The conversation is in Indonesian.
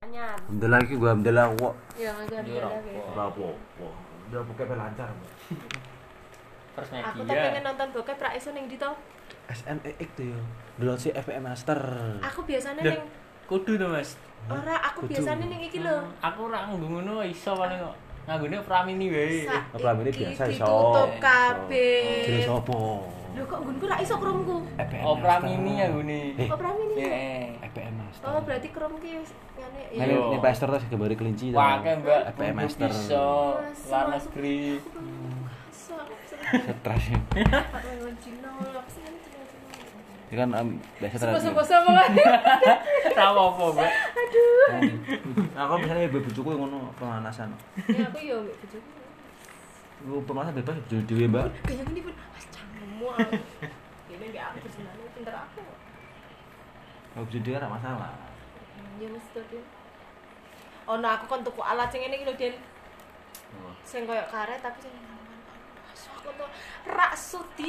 anyar Alhamdulillah iki gua alhamdulillah kok ya nggak ada Jorok. beda beda. apa udah pokoknya pelancar First aku tuh pengen media. nonton bokep ra iso ning dito SME itu ya dulu si FM Master aku biasanya Lah. ning Kudu tuh mas. ora aku Kudu. biasanya ning iki lho Hmm, Aku ora nganggo ngono iso paling kok. Nganggone Pramini wae. Pramili biasa ditutup iso. Iso. jadi kabeh sopo lho kok nggonku ra iso kromku FM Oh Pramini Master. nganggone. Eh. kok prami nih Heeh. FM Master oh berarti krom ki wis ngene Nah, ya Melu. ini Master tuh gambar kelinci tau. Wah, kan Mbak. FM Kudu Master Bisa Masuk, luar masuk. negeri. Aku pengen kaso, aku seneng. stres ya. Aku pengen Cina, aku seneng Cina, Cina. Ini kan em, biasa Sumpah, terus. sumpah, sumpah. Ra apa, Mbak. Aku Nah, misalnya ibu bujuku yang ngono pemanasan. Ya, aku yo ambek bojoku. Lu pemanasan bebas jadi dewe, Mbak. Kayak gini pun, mas canggung aku. Ini gak aku sebenarnya pinter aku. Kalau jadi dewe enggak masalah. Ya mesti tuh Din. Oh nah aku kan tuku alat sing ini lho Din. Oh. Sing koyo karet tapi sing ngalungan. Masuk aku tuh rak sudi